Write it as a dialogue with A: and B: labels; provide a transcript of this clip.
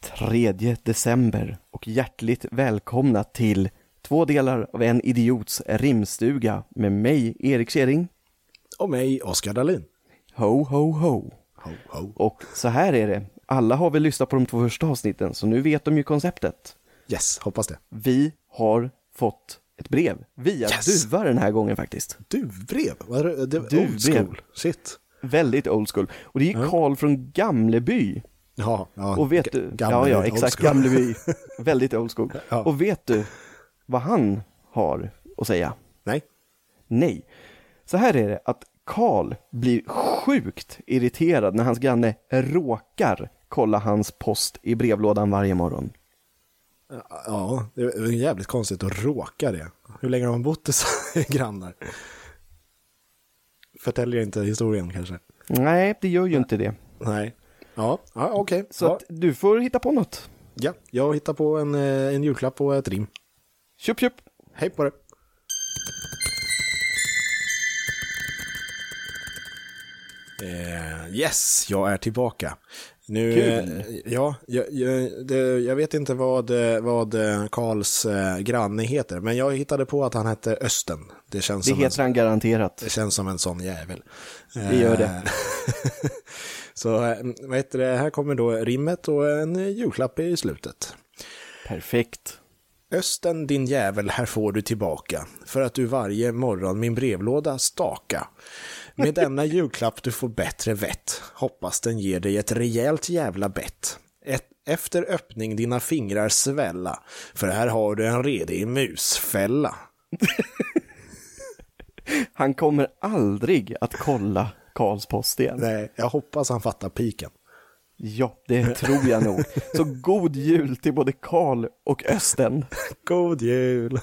A: 3 december och hjärtligt välkomna till två delar av en idiots rimstuga med mig, Erik Kjering.
B: Och mig, Oskar Dahlin.
A: Ho, ho, ho.
B: Ho, ho.
A: Och så här är det, alla har väl lyssnat på de två första avsnitten så nu vet de ju konceptet.
B: Yes, hoppas det.
A: Vi har fått ett brev via
B: Yes!
A: Duva den här gången faktiskt.
B: Duvbrev? Vad är det? det
A: Duvbrev.
B: Old school. Shit.
A: Väldigt old school. Och det är Karl från Gamleby.
B: Ja, ja.
A: Och vet
B: Ga-
A: du, ja,
B: gamla
A: ja,
B: old
A: exakt,
B: school.
A: Gamleby. Väldigt old school.
B: Ja.
A: Och vet du vad han har att säga?
B: Nej.
A: Nej. Så här är det att Karl blir sjukt irriterad när hans granne råkar kolla hans post i brevlådan varje morgon.
B: Ja, det är jävligt konstigt att råka det. Hur länge har man bott hos grannar? Förtäljer inte historien kanske.
A: Nej, det gör ju inte det.
B: Nej. Ja, ja okej.
A: Så
B: Ja,
A: att du får hitta på något.
B: ja, jag hittar på en, eh, en julklapp och ett rim.
A: Tjup, tjup.
B: Hej på det. Eh, yes, jag är tillbaka. Nu,
A: Kul.
B: eh, ja, jag, jag, det, jag vet inte vad, eh, vad eh, Karls eh, granne heter, men jag hittade på att han hette Östen. Det känns,
A: Det
B: som, en,
A: heter han garanterat.
B: det känns som en sån jävel. Eh,
A: Det gör det.
B: Så eh, vad heter det? här kommer då rimmet och en eh, julklapp i slutet.
A: Perfekt.
B: Östen din jävel, här får du tillbaka, för att du varje morgon min brevlåda staka. Med denna julklapp du får bättre vett, hoppas den ger dig ett rejält jävla bett. Ett, efter öppning dina fingrar svälla, för här har du en redig musfälla.
A: Han kommer aldrig att kolla Karls post igen.
B: Nej, jag hoppas han fattar piken.
A: Ja, det tror jag nog. Så god jul till både Karl och Östen.
B: God jul!